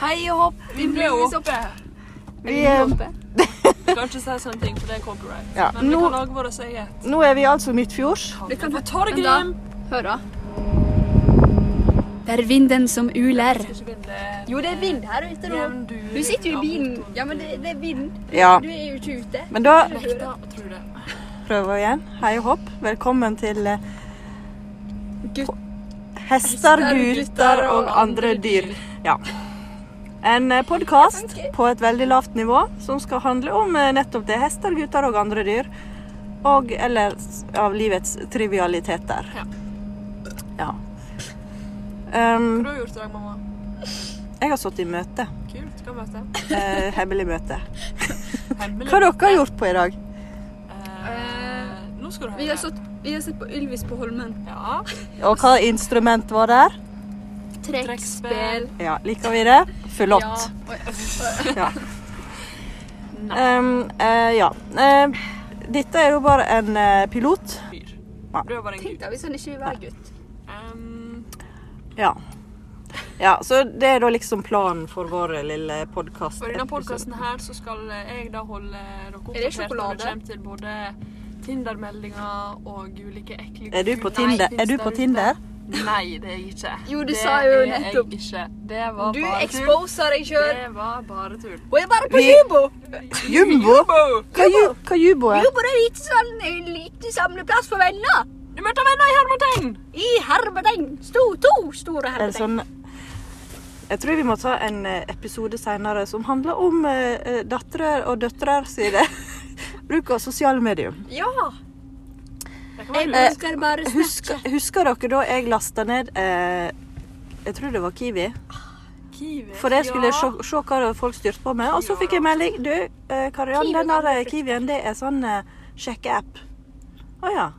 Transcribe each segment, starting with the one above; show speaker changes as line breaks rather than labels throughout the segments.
Hei og hopp. Vi
Bimle
blir
og
oppe.
Vi, eh,
Du kan ikke si sånne ting, for det er copyright.
Ja,
Men vi
nå-
kan lage vår eget.
nå er vi altså midtfjords.
Vi kan få
Vent da.
Torgrim.
Hør da. Det er vinden som uler.
Skal ikke vinne
Jo, det er vind her ute nå.
igjen, du.
Du sitter jo i bilen.
Ja,
Ja, men det, det er vind.
Ja,
Du er jo ikke ute.
men da
men Nekta å tro det.
prøver vi igjen. Hei og hopp. Velkommen til eh,
Gutt-
Hester, gutter og andre dyr. Ja. En podkast på et veldig lavt nivå som skal handle om eh, nettopp det. Hester, gutter og andre dyr. Og eller s- av livets trivialiteter.
Ja.
Ja. Um,
Hva har du gjort i dag, mamma?
jeg har sittet i møte.
Kult. Hva møte?
Eh, hemmelig møte.
Hemmelig.
Hva har dere gjort på i dag?
Eh, nå skal du høre.
Vi har, sett, vi har sett på Ylvis på Holmen.
Ja.
Og hva instrument var der?
Trekkspill.
Ja, Liker vi det? Fulott. Ja. Um, eh, ja. Eh, dette er jo bare en eh, pilot.
Fyr.
Ja.
Du er bare en
Tenk
gud.
deg hvis han ikke vil være gutt.
Um,
Ja. ja. Så det er da liksom planen for vår lille podkast.
og i denne podcasten her så skal jeg da holde dere
Er det
oppdatert når
sjokolade?
det kommer til både Tinder-meldinger og ulike ekle
Er du på
guder.
Tinder?
Nei,
Er du på Tinder?
Nei, det er jeg ikke.
Jo, du
det
sa jo
er jeg
nettopp.
ikke. Det var
Du
bare tull.
exposer deg sjøl.
Det var bare tull.
Og jeg er bare på
Vi-
Jubo.
Jumbo? Hva, ju, hva jubo er?
Jubo det er lite sånn, en liten samleplass for venner.
Du møter venner i Hermetegn!
I hermetegn. Sto, to store
Er det
hermetegn.
sånn Jeg tror vi må ta en eh, episode seinere som handler om uh, dattere og døtre sine bruk av sosiale medier.
Ja.
Det kan
Jeg
være lurt.
husker bare
Husker,
Snapchat.
husker dere da jeg lasta ned eh, Jeg tror det var Kiwi.
Kiwi.
For jeg skulle
Ja.
se, se hva folk styrte på med. Og så fikk jeg melding. Du, eh, Karianne,
Kiwi kan
den der
bli
eh, Kiwien, det er sånn eh, sjekkeapp. Å ja.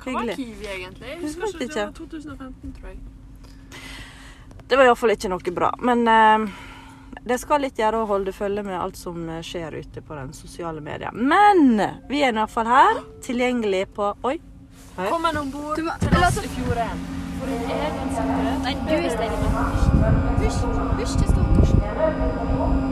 Hva var
hyggelig.
Kiwi egentlig? Jeg
Husker
husker ikke.
ikke.
Det var 2015, tror jeg.
Det var iallfall ikke noe bra. Men eh, det skal litt gjøre å holde følge med alt som eh, skjer ute på den sosiale media. Men vi er iallfall her, tilgjengelig på Oi. Hei.
Kom en ombord
Du må-
til
la
oss
oss-
i fjorden. For en egen sikkerhet.
Nei, du er stedig. Hysj. Hysj til stortorsen.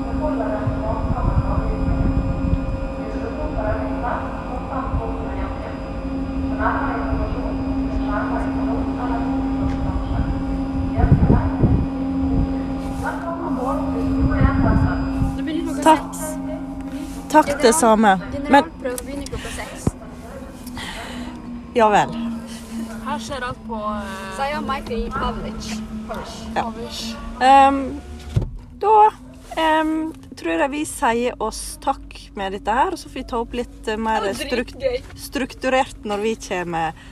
Det begynner klokka
Takk.
seks.
Takk, det samme. Men
Generalprøven begynner klokka seks.
ja vel.
Her skjer alt på eh,
Sier Michael Pavlic.
Avish.
Ehm, da ehm, tror jeg vi sier oss takk med dette her, og så får vi ta opp litt eh, mer
Det var
struk
dritgøy.
strukturert når vi kommer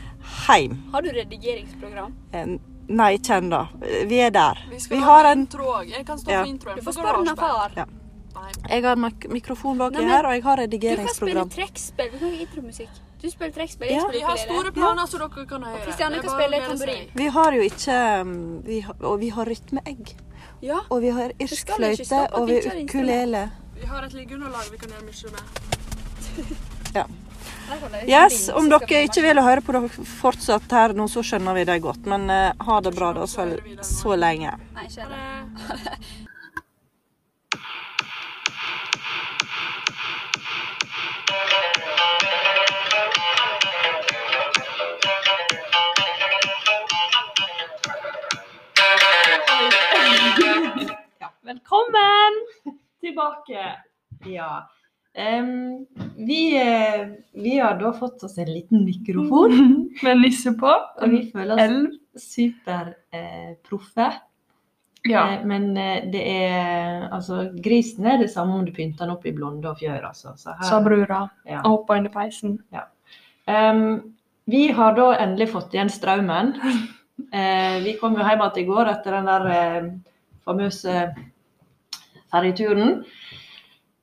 hjem.
Har du redigeringsprogram?
Eh, Nei, kjenn da. Vi er der.
Vi skal
Vi
ha
har
en
en
intro òg. Jeg kan stå
Ja.
for introen.
Du får
for
spørre
garasje.
din far.
Nei.
Jeg har mik mikrofon baki
Nei, men-
her, og jeg har
Du kan spille
redigeringsprogram.
trekkspill. Vi kan ikke intromusikk. Du spiller trekkspill,
Ja.
jeg spiller
Vi har
ukulele.
store planer så dere kan høre.
Kristian, du
Det er
kan
bare
spille
å glede
tamburin.
seg.
Vi har jo ikke mm, vi har, Og vi har rytmeegg.
Ja.
Og vi har
skal
irsk
ikke
fløyte,
stoppe at
og
vi
vi
ikke har
ukulele.
Vi har et liggeunderlag vi kan gjøre mye med.
Her kan dere
Yes,
spille
om
musikk
dere
av
ikke vil høre på dere fortsatt her nå, så skjønner vi det godt. Men eh, ha det bra da så, så lenge.
meg. Nei, ikke
Ha
heller.
det.
Velkommen tilbake. Ja. Em, vi, eh, vi har da fått oss en liten mikrofon,
med nisse på.
og vi føler oss
Elv.
superproffe. Eh, proffe.
Ja.
eh, men eh, det er altså Grisen er det samme om du pynter den opp i blonde og fjør, altså. Så her-
Sa brura
ja.
og hoppa inn i peisen.
Em, Ehm, vi har da endelig fått igjen strømmen. Eh, vi kom jo hjem igjen i går etter den der eh, famøse ferjeturen.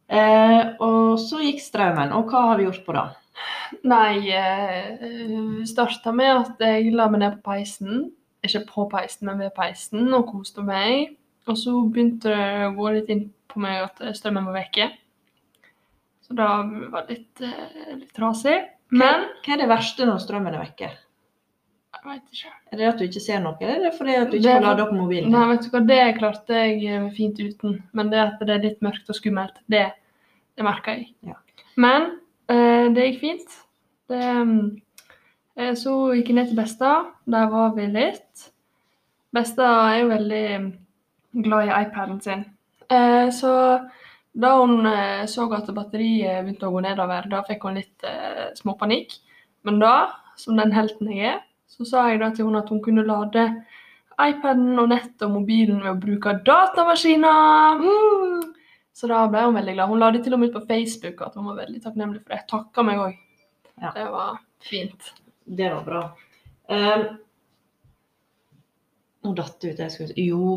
Eh, og så gikk strømmen, og hva har vi gjort på det?
Nei, eh, starta med at jeg la meg ned på peisen. Ikke på peisen, men ved peisen, og koste meg. Og så begynte det å gå litt inn på meg at strømmen var vekke. Så da var det litt, eh, litt trasig. Men
Hva er det verste når strømmen er vekke?
jeg vet ikke.
Er det at du ikke ser noe, eller er det fordi at du
Det
ikke
er-
får lade opp mobilen?
Nei, vet du hva, det klarte jeg eh, fint uten. Men det at det er litt mørkt og skummelt, det, det merka jeg.
Ja.
Men eh, det gikk fint. Det, mm, eh, så gikk jeg ned til Besta. Der var vi litt. Besta er jo veldig mm, glad i iPaden sin. Eh, så da hun eh, så at batteriet begynte å gå nedover, da fikk hun litt eh, småpanikk. Men da, som den helten jeg er, så sa jeg da til hun at hun kunne lade iPaden og nettet og mobilen ved å bruke datamaskiner. Mm. Så da ble hun veldig glad. Hun la det til og med ut på Facebook at hun var veldig takknemlig for det. Takka meg òg.
Ja.
Det var fint.
Det var bra. Um, nå datt det ut det jeg skulle si. Jo,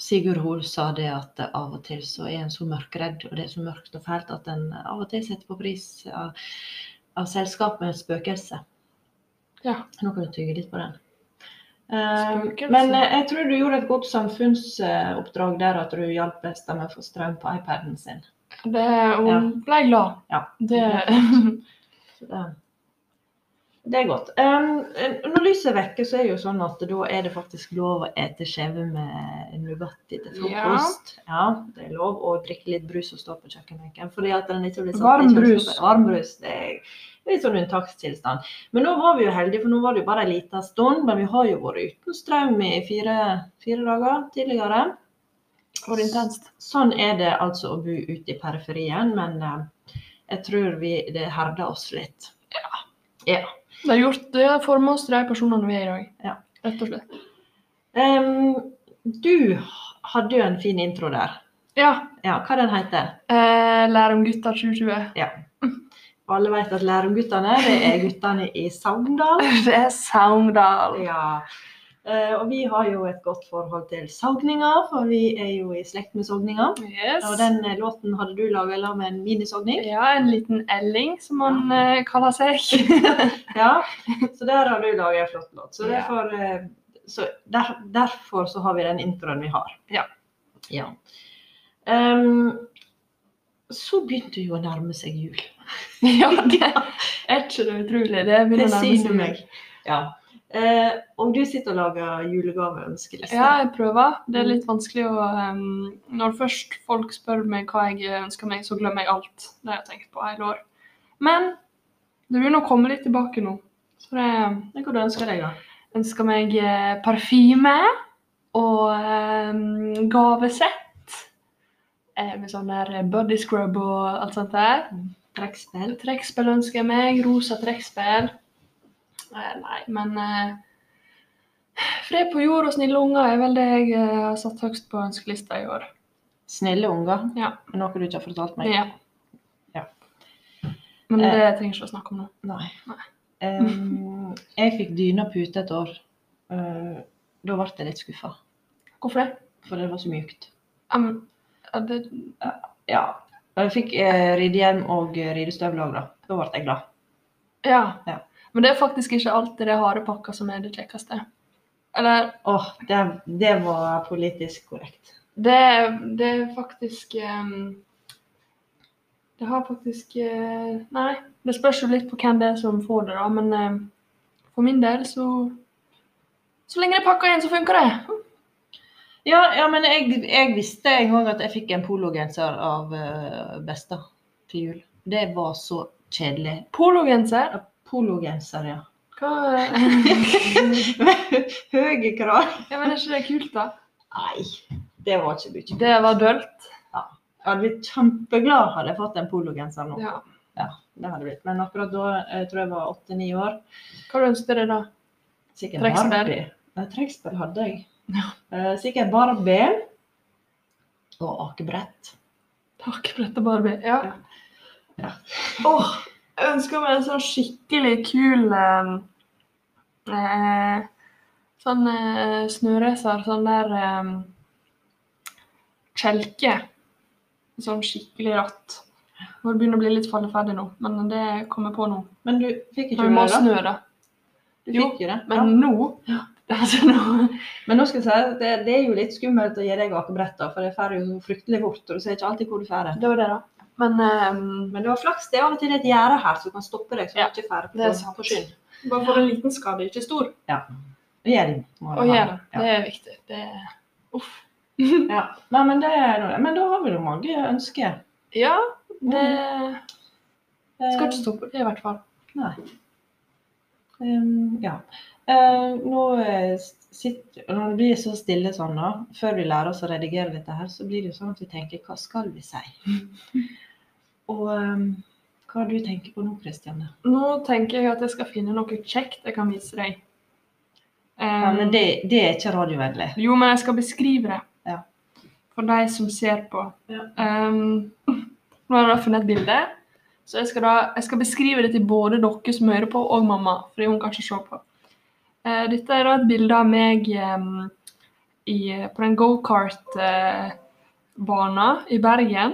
Sigurd Hoel sa det at av og til så er en så mørkredd, og det er så mørkt og fælt at en av og til setter på pris av, av selskap med spøkelse.
Ja.
Nå kan du tygge litt på den. Um,
Spøkelse.
men eh, jeg tror du gjorde et godt samfunnsoppdrag der at du hjalp besta med å få strøm på iPaden sin.
Det, hun ble glad.
Ja.
Det,
Så det, det er godt. Em, når lyset er vekke, så er det jo sånn at da er det faktisk lov å ete skjeve med Nugatti til frokost. Ja. det er lov å drikke litt brus og stå på kjøkkenbenken. Fordi sånn at den ikke blir satt i
Varm
kjøleskapet.
brus.
Varm brus. Det er litt sånn unntakstilstand. Men nå var vi jo heldige, for nå var det jo bare en liten stund. Men vi har jo vært uten strøm i fire, fire dager tidligere.
var det intenst.
Sånn er det altså å bo ute i periferien, men eh, jeg tror vi, det herder oss litt.
Det har gjort det har formet oss til de personene vi er i dag.
Ja.
Rett og slett.
Em, du hadde jo en fin intro der.
Ja.
Ja, hva den heter?
Eh, Lære om gutter 2020.
Og Alle vet at Lærumguttene, det er guttene i Sogndal.
Det er Sogndal.
Ja. Eh, og vi har jo et godt forhold til Sogninga, for vi er jo i slekt med Sogninga.
Yes.
Og den eh, låten hadde du laga sammen med en minisogning.
Ja, en liten elling, som han eh, kaller seg.
Ja, så der har du laget en flott låt. Så,
Ja.
derfor, eh, så der, derfor så har vi den introen vi har.
Ja.
Ja. Ehm, så begynte jo å nærme seg jul.
Ja, det er ikke det utrolig. Det
Det
begynner å nærme
syner
seg.
meg. Ja. Eh, og du sitter og lager julegaveønskeliste.
Ja, jeg prøver. Det er
Mm.
litt vanskelig å ehm, Når først folk spør meg hva jeg ønsker meg, så glemmer jeg alt. Det har jeg tenkt på hele år. Men det begynner å komme litt tilbake nå. Så det
Men Hva du ønsker deg, da?
ønsker meg eh, parfyme og ehm, gavesett. eh, Med sånn der body scrub og alt sånt der.
Trekkspill?
Trekkspill ønsker jeg meg. Rosa trekkspill. Eh, Nei, men eh, Fred på jord og snille unger er vel det jeg eh, har satt høyst på ønskelista i år.
Snille unger?
Ja.
Noe du ikke har fortalt meg?
Ja.
Ja.
Men
Eh.
det trenger jeg ikke å snakke om nå.
Nei.
Nei.
Ehm, jeg fikk dyna pute et år. Eh, da ble jeg litt skuffa,
Hvorfor det?
for det var så mjukt.
Ja, men, ja, det
Ja. Og jeg fikk eh, ridehjelm og eh, ridestøvler òg, da. Da ble jeg glad.
ja.
Ja.
Men det er faktisk ikke alltid det harde pakka som er det kjekkeste. Eller
Åh, det, det var politisk korrekt.
det, det er faktisk ehm, Det har faktisk eh, Nei, det spørs jo litt på hvem det er som får det, da. Men ehm, for min del så Så lenge det er pakka inn, så funker det.
Ja, ja men jeg, jeg visste en gang at jeg fikk en pologenser av uh, besta til jul. Det var så kjedelig.
Pologenser.
Pologenser, ja.
Hva eh,
Høye krav.
Ja, men er ikke det kult, da?
Nei, det var ikke mye.
Det var dølt.
Jeg hadde blitt kjempeglad hadde jeg fått en pologenser nå.
Ja.
Ja, det hadde jeg blitt. Men akkurat da, jeg tror jeg var åtte-ni år,
Hva ønsker du deg da?
Sikkert
Trekkspill.
Barbie. Nei, trekkspill hadde jeg. Eh, sikkert Barbie og akebrett.
Hakebrett og Barbie. Ja.
Ja.
Åh, jeg ønsker meg en sånn skikkelig kul eh, eh, Sånn eh, snøracer. Sånn der eh, kjelke. Sånn skikkelig ratt. Nå begynner å bli litt falleferdig nå, men det kommer på nå.
Men du fikk ikke
Når vi må ha
det, da?
snø, da.
Du
Jo,
fikk jo det.
Men
ja.
nå Altså nå
men nå skal jeg si at det, det er jo litt skummelt å gi deg akebrett, da, for det drar jo så fryktelig fort. og Du ser ikke alltid hvor du drar.
Det var det, da. Men eh,
Men det var flaks det er av og til et gjerde her som kan stoppe deg, så du
Ja,
ikke drar
det er
på,
sant.
på skyen.
Bare for en liten skade, ikke stor.
Og gjør det. må
Å
vi ha.
gjøre det.
Ja.
Det er viktig. Det er Uff.
Ja. Nei, men, det er, noe- men da har vi jo mange ønsker.
Ja, det
Eh,
Mm. skal ikke stå på det, i hvert fall.
Nei. Ehm, ja. Eh, nå eh, sitter, når det blir så stille sånn da, før vi lærer oss å redigere dette her, så blir det jo sånn at vi tenker hva skal vi si? Og ehm, hva du tenker på nå, Kristianne?
Nå tenker jeg at jeg skal finne noe kjekt jeg kan vise deg. Eh,
Ja, men det, det er ikke radiovennlig.
Jo, men jeg skal beskrive det.
Ja.
For de som ser på.
Ja.
Ehm, nå har jeg da funnet et bilde. Så jeg skal, da, jeg skal beskrive det til både dere som hører på, og mamma. Fordi hun kan ikke se på. Eh, dette er da et bilde av meg ehm, i, på den gokart-bana i Bergen.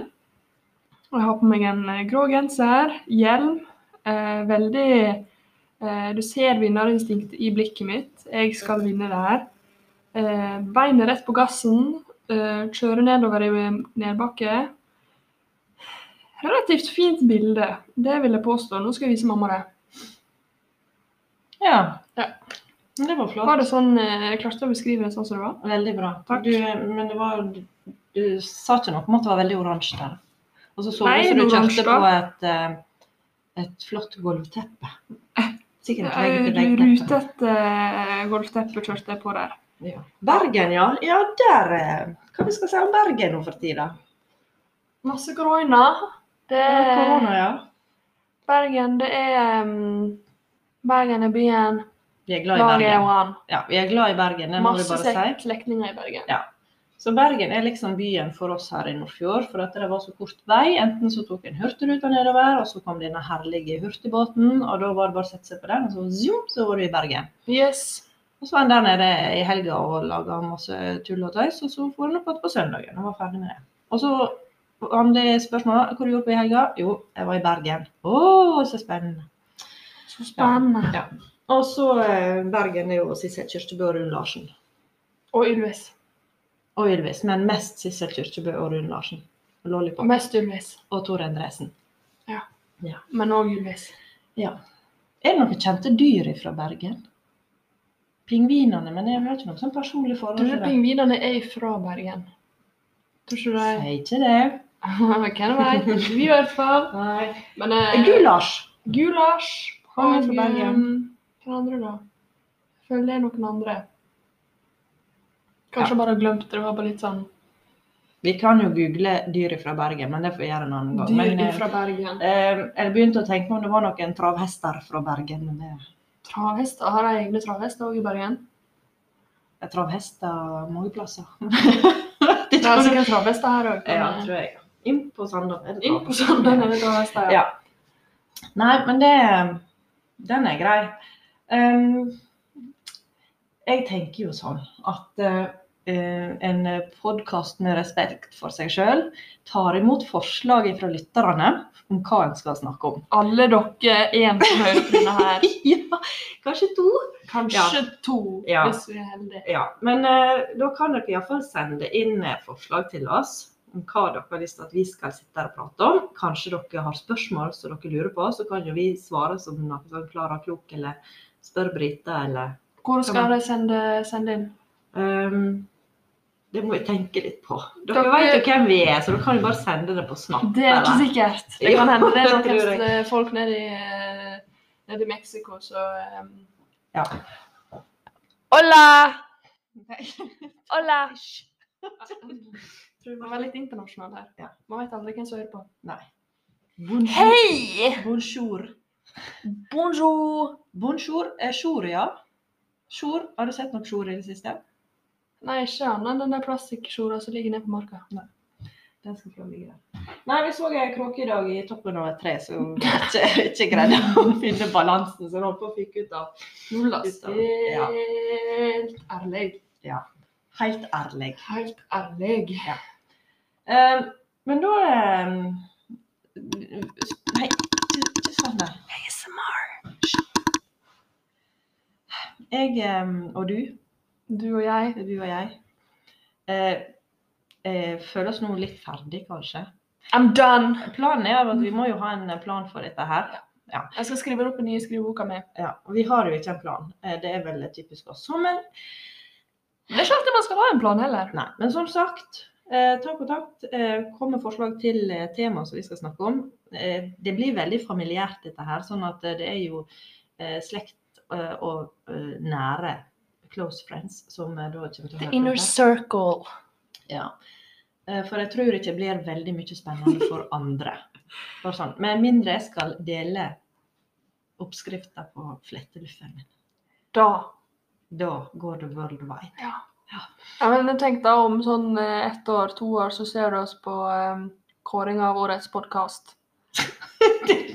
Og jeg har på meg en eh, grå genser, hjelm. Eh, veldig eh, Du ser vinnerinstinktet i blikket mitt. Jeg skal vinne det her. Eh, beinet rett på gassen, eh, kjøre nedover i nedbakke. Relativt fint bilde, det vil jeg påstå. Nå skal jeg vise mamma det.
Ja.
Ja.
Men det var
Var
flott.
det sånn, eh, jeg klarte å beskrive det sånn som det var?
Veldig bra.
Takk.
Du, eh, men det var, du, du sa ikke noe om at det var veldig oransje der. Og så så
Nei,
du som du
det oransje
kjørte på
da.
et, eh, et flott gulvteppe. Sikkert et
Eh,
legg- leggteppe.
Rutete eh, golfteppe kjørte jeg på der.
Ja. Bergen, ja. Ja, der eh, Hva vi skal si om Bergen nå for tida?
Masse korona. Det
Ja, Korona, ja.
Bergen, det er mm, Bergen er byen.
Vi er glad i
Laget er
Bergen.
one.
Ja, vi er glad i Bergen, det må vi
Masse
bare
slekt-
si.
slektninger i Bergen.
Så Bergen er liksom byen for oss her i Nordfjord, for at det var så kort vei. Enten så tok en Hurtigruta nedover, og så kom denne herlige hurtigbåten, og da var det bare å sette seg på den, og så zoom, så var du i Bergen.
Yes.
Og så var han der nede i helga og laga masse tull og tøys, og så for han opp igjen på søndagen og var ferdig med det. Og så om det er spørsmål hva du gjorde på i helga? Jo, jeg var i Bergen. Å, så spennende.
Så spennende.
Og så eh, Bergen er jo Sissel Kyrkjebø og Rune Larsen.
Og Ylvis.
Og Ylvis, men mest Sissel Kyrkjebø og Rune Larsen. Og Lollipop.
Mest Ylvis,
Og Tor Endresen.
men òg Ylvis.
Er det noen kjente dyr fra Bergen? Pingvinene, men jeg har ikke noe sånn personlig forhold
Tror
til
du
det.
pingvinene er fra Bergen? Tror ikke det?
Sier ikke det.
Hvem vet? Vi i hvert fall.
Nei.
Men eh,
Gulasj!
Gulasj.
Han er
og,
fra Bergen.
um, Hvem andre, da? Jeg Føler det er noen andre. Kanskje jeg bare har glemt det. Det var bare litt sånn
Vi kan jo google dyr fra Bergen, men det får vi gjøre en annen gang.
dyr
Men, eh,
fra Bergen.
eh, jeg begynte å tenke på om det var noen travhester fra Bergen. Men det,
Travhester. Har de egne travhester òg i Bergen?
er travhester mange plasser. det
Det er sikkert travhester her òg.
Ja, tror jeg. Inn på Sandal. er det
Inn
bra?
på Sandane er det travhester.
Ja. Nei, men det Den er grei. Ehm, jeg tenker jo sånn at eh, en podkast med respekt for seg sjøl tar imot forslag fra lytterne om hva en skal snakke om.
Alle dere en som hører på denne her.
ja, kanskje to.
Kanskje to,
Ja.
hvis vi er heldige.
Ja, Men eh, da kan dere iallfall sende inn eh, forslag til oss om hva dere har lyst til at vi skal sitte her og prate om. Kanskje dere har spørsmål som dere lurer på, så kan jo vi svare som noe sånn Klara Klok eller spør Brita eller
Hvor skal de sende, sende inn?
Ehm, Det må vi tenke litt på. Dere,
Dere-
vet jo hvem vi er, så dere kan jo bare sende det på Snap.
Det er ikke
eller-
sikkert. Det kan hende det er
Ja, det tror
noen eh, folk nede i, eh, nede i Mexico, så um...
Ja.
Hola! Hola!
Tror du
Man
var
er
litt-
litt internasjonal her.
Ja.
Man vet aldri hvem som hører på.
Nei. Bonjour.
Hei!
Bonjour.
Bonjour!
Bonjour er jour, ja. Jour, Har du sett noe jour i det siste?
Nei, ikke annet enn den der plastikkskjorta som ligger nede på marka.
Den skal få ligge der. Nei, vi så ei kråke i dag i toppen av et tre som ikke, ikke greide å finne balansen, så hun holdt på å fyke ut av.
Nulla.
Ut av- ja.
Helt ærlig.
Helt ærlig.
Helt ærlig.
Eh, men da eh, Nei, ikke ikke sånn der. Jeg eh, og du,
Du og jeg
du og jeg, eh, eh, føler oss nå litt ferdig, kanskje.
I'm done.
Planen er at vi må jo ha en eh, plan for dette her. Ja.
Jeg skal skrive det opp i nye skriveboka mi.
Ja, og Vi har jo ikke en plan. Eh, Det er veldig typisk oss. Så, Men,
Det er ikke alltid man skal ha en plan heller.
nei, men som sagt, eh, ta kontakt. Eh, kom med forslag til eh, tema som vi skal snakke om. Eh, det blir veldig familiært, dette her. Sånn at eh, det er jo eh, slekt eh, og eh, nære close friends som eh, da kommer til å høre på dette.
circle.
Ja. Eh, For jeg tror ikke det blir veldig mye spennende for andre. Bare sånn. Med mindre jeg skal dele oppskrifta på fletteluffen min.
Da.
Da går det worldwide.
Ja, men tenk da om sånn eh, ett år, to år, så ser du oss på um, kåring av årets podkast.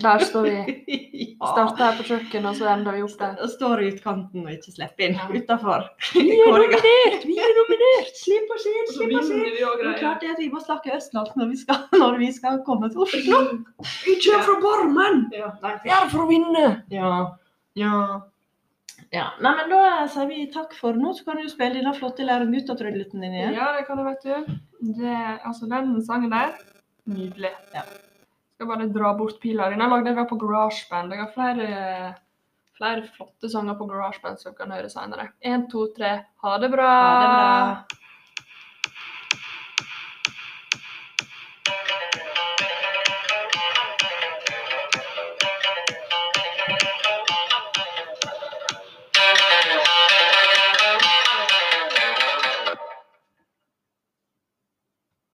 Der står vi.
ja.
Starter her på kjøkkenet, og så ender vi opp der.
Og står i utkanten og ikke slipper inn.
Ja.
Utenfor.
Vi er
Kåringa.
nominert! Vi er nominert!
Slipp og skinn,
Og så
slipp og skinn.
vinner vi og
Det er
greier.
klart det at vi må snakke østlandsk når vi skal, når vi skal komme til Oslo. Vi kommer fra Barmen! Ja. Nei,
Vi er for å vinne!
Ja. Ja. ja. Nei, men da sier vi takk for nå, så kan du jo spille denne flotte lærerguttatrødleten din igjen.
Ja, det kan du, vet du. Det, altså, den sangen der, nydelig.
Ja.
Skal bare dra bort pila. Den har lagd jeg på GarageBand. Jeg har flere, flere flotte sanger på GarageBand som vi kan høre senere. Én, to, tre. Ha det bra!
Ha det bra.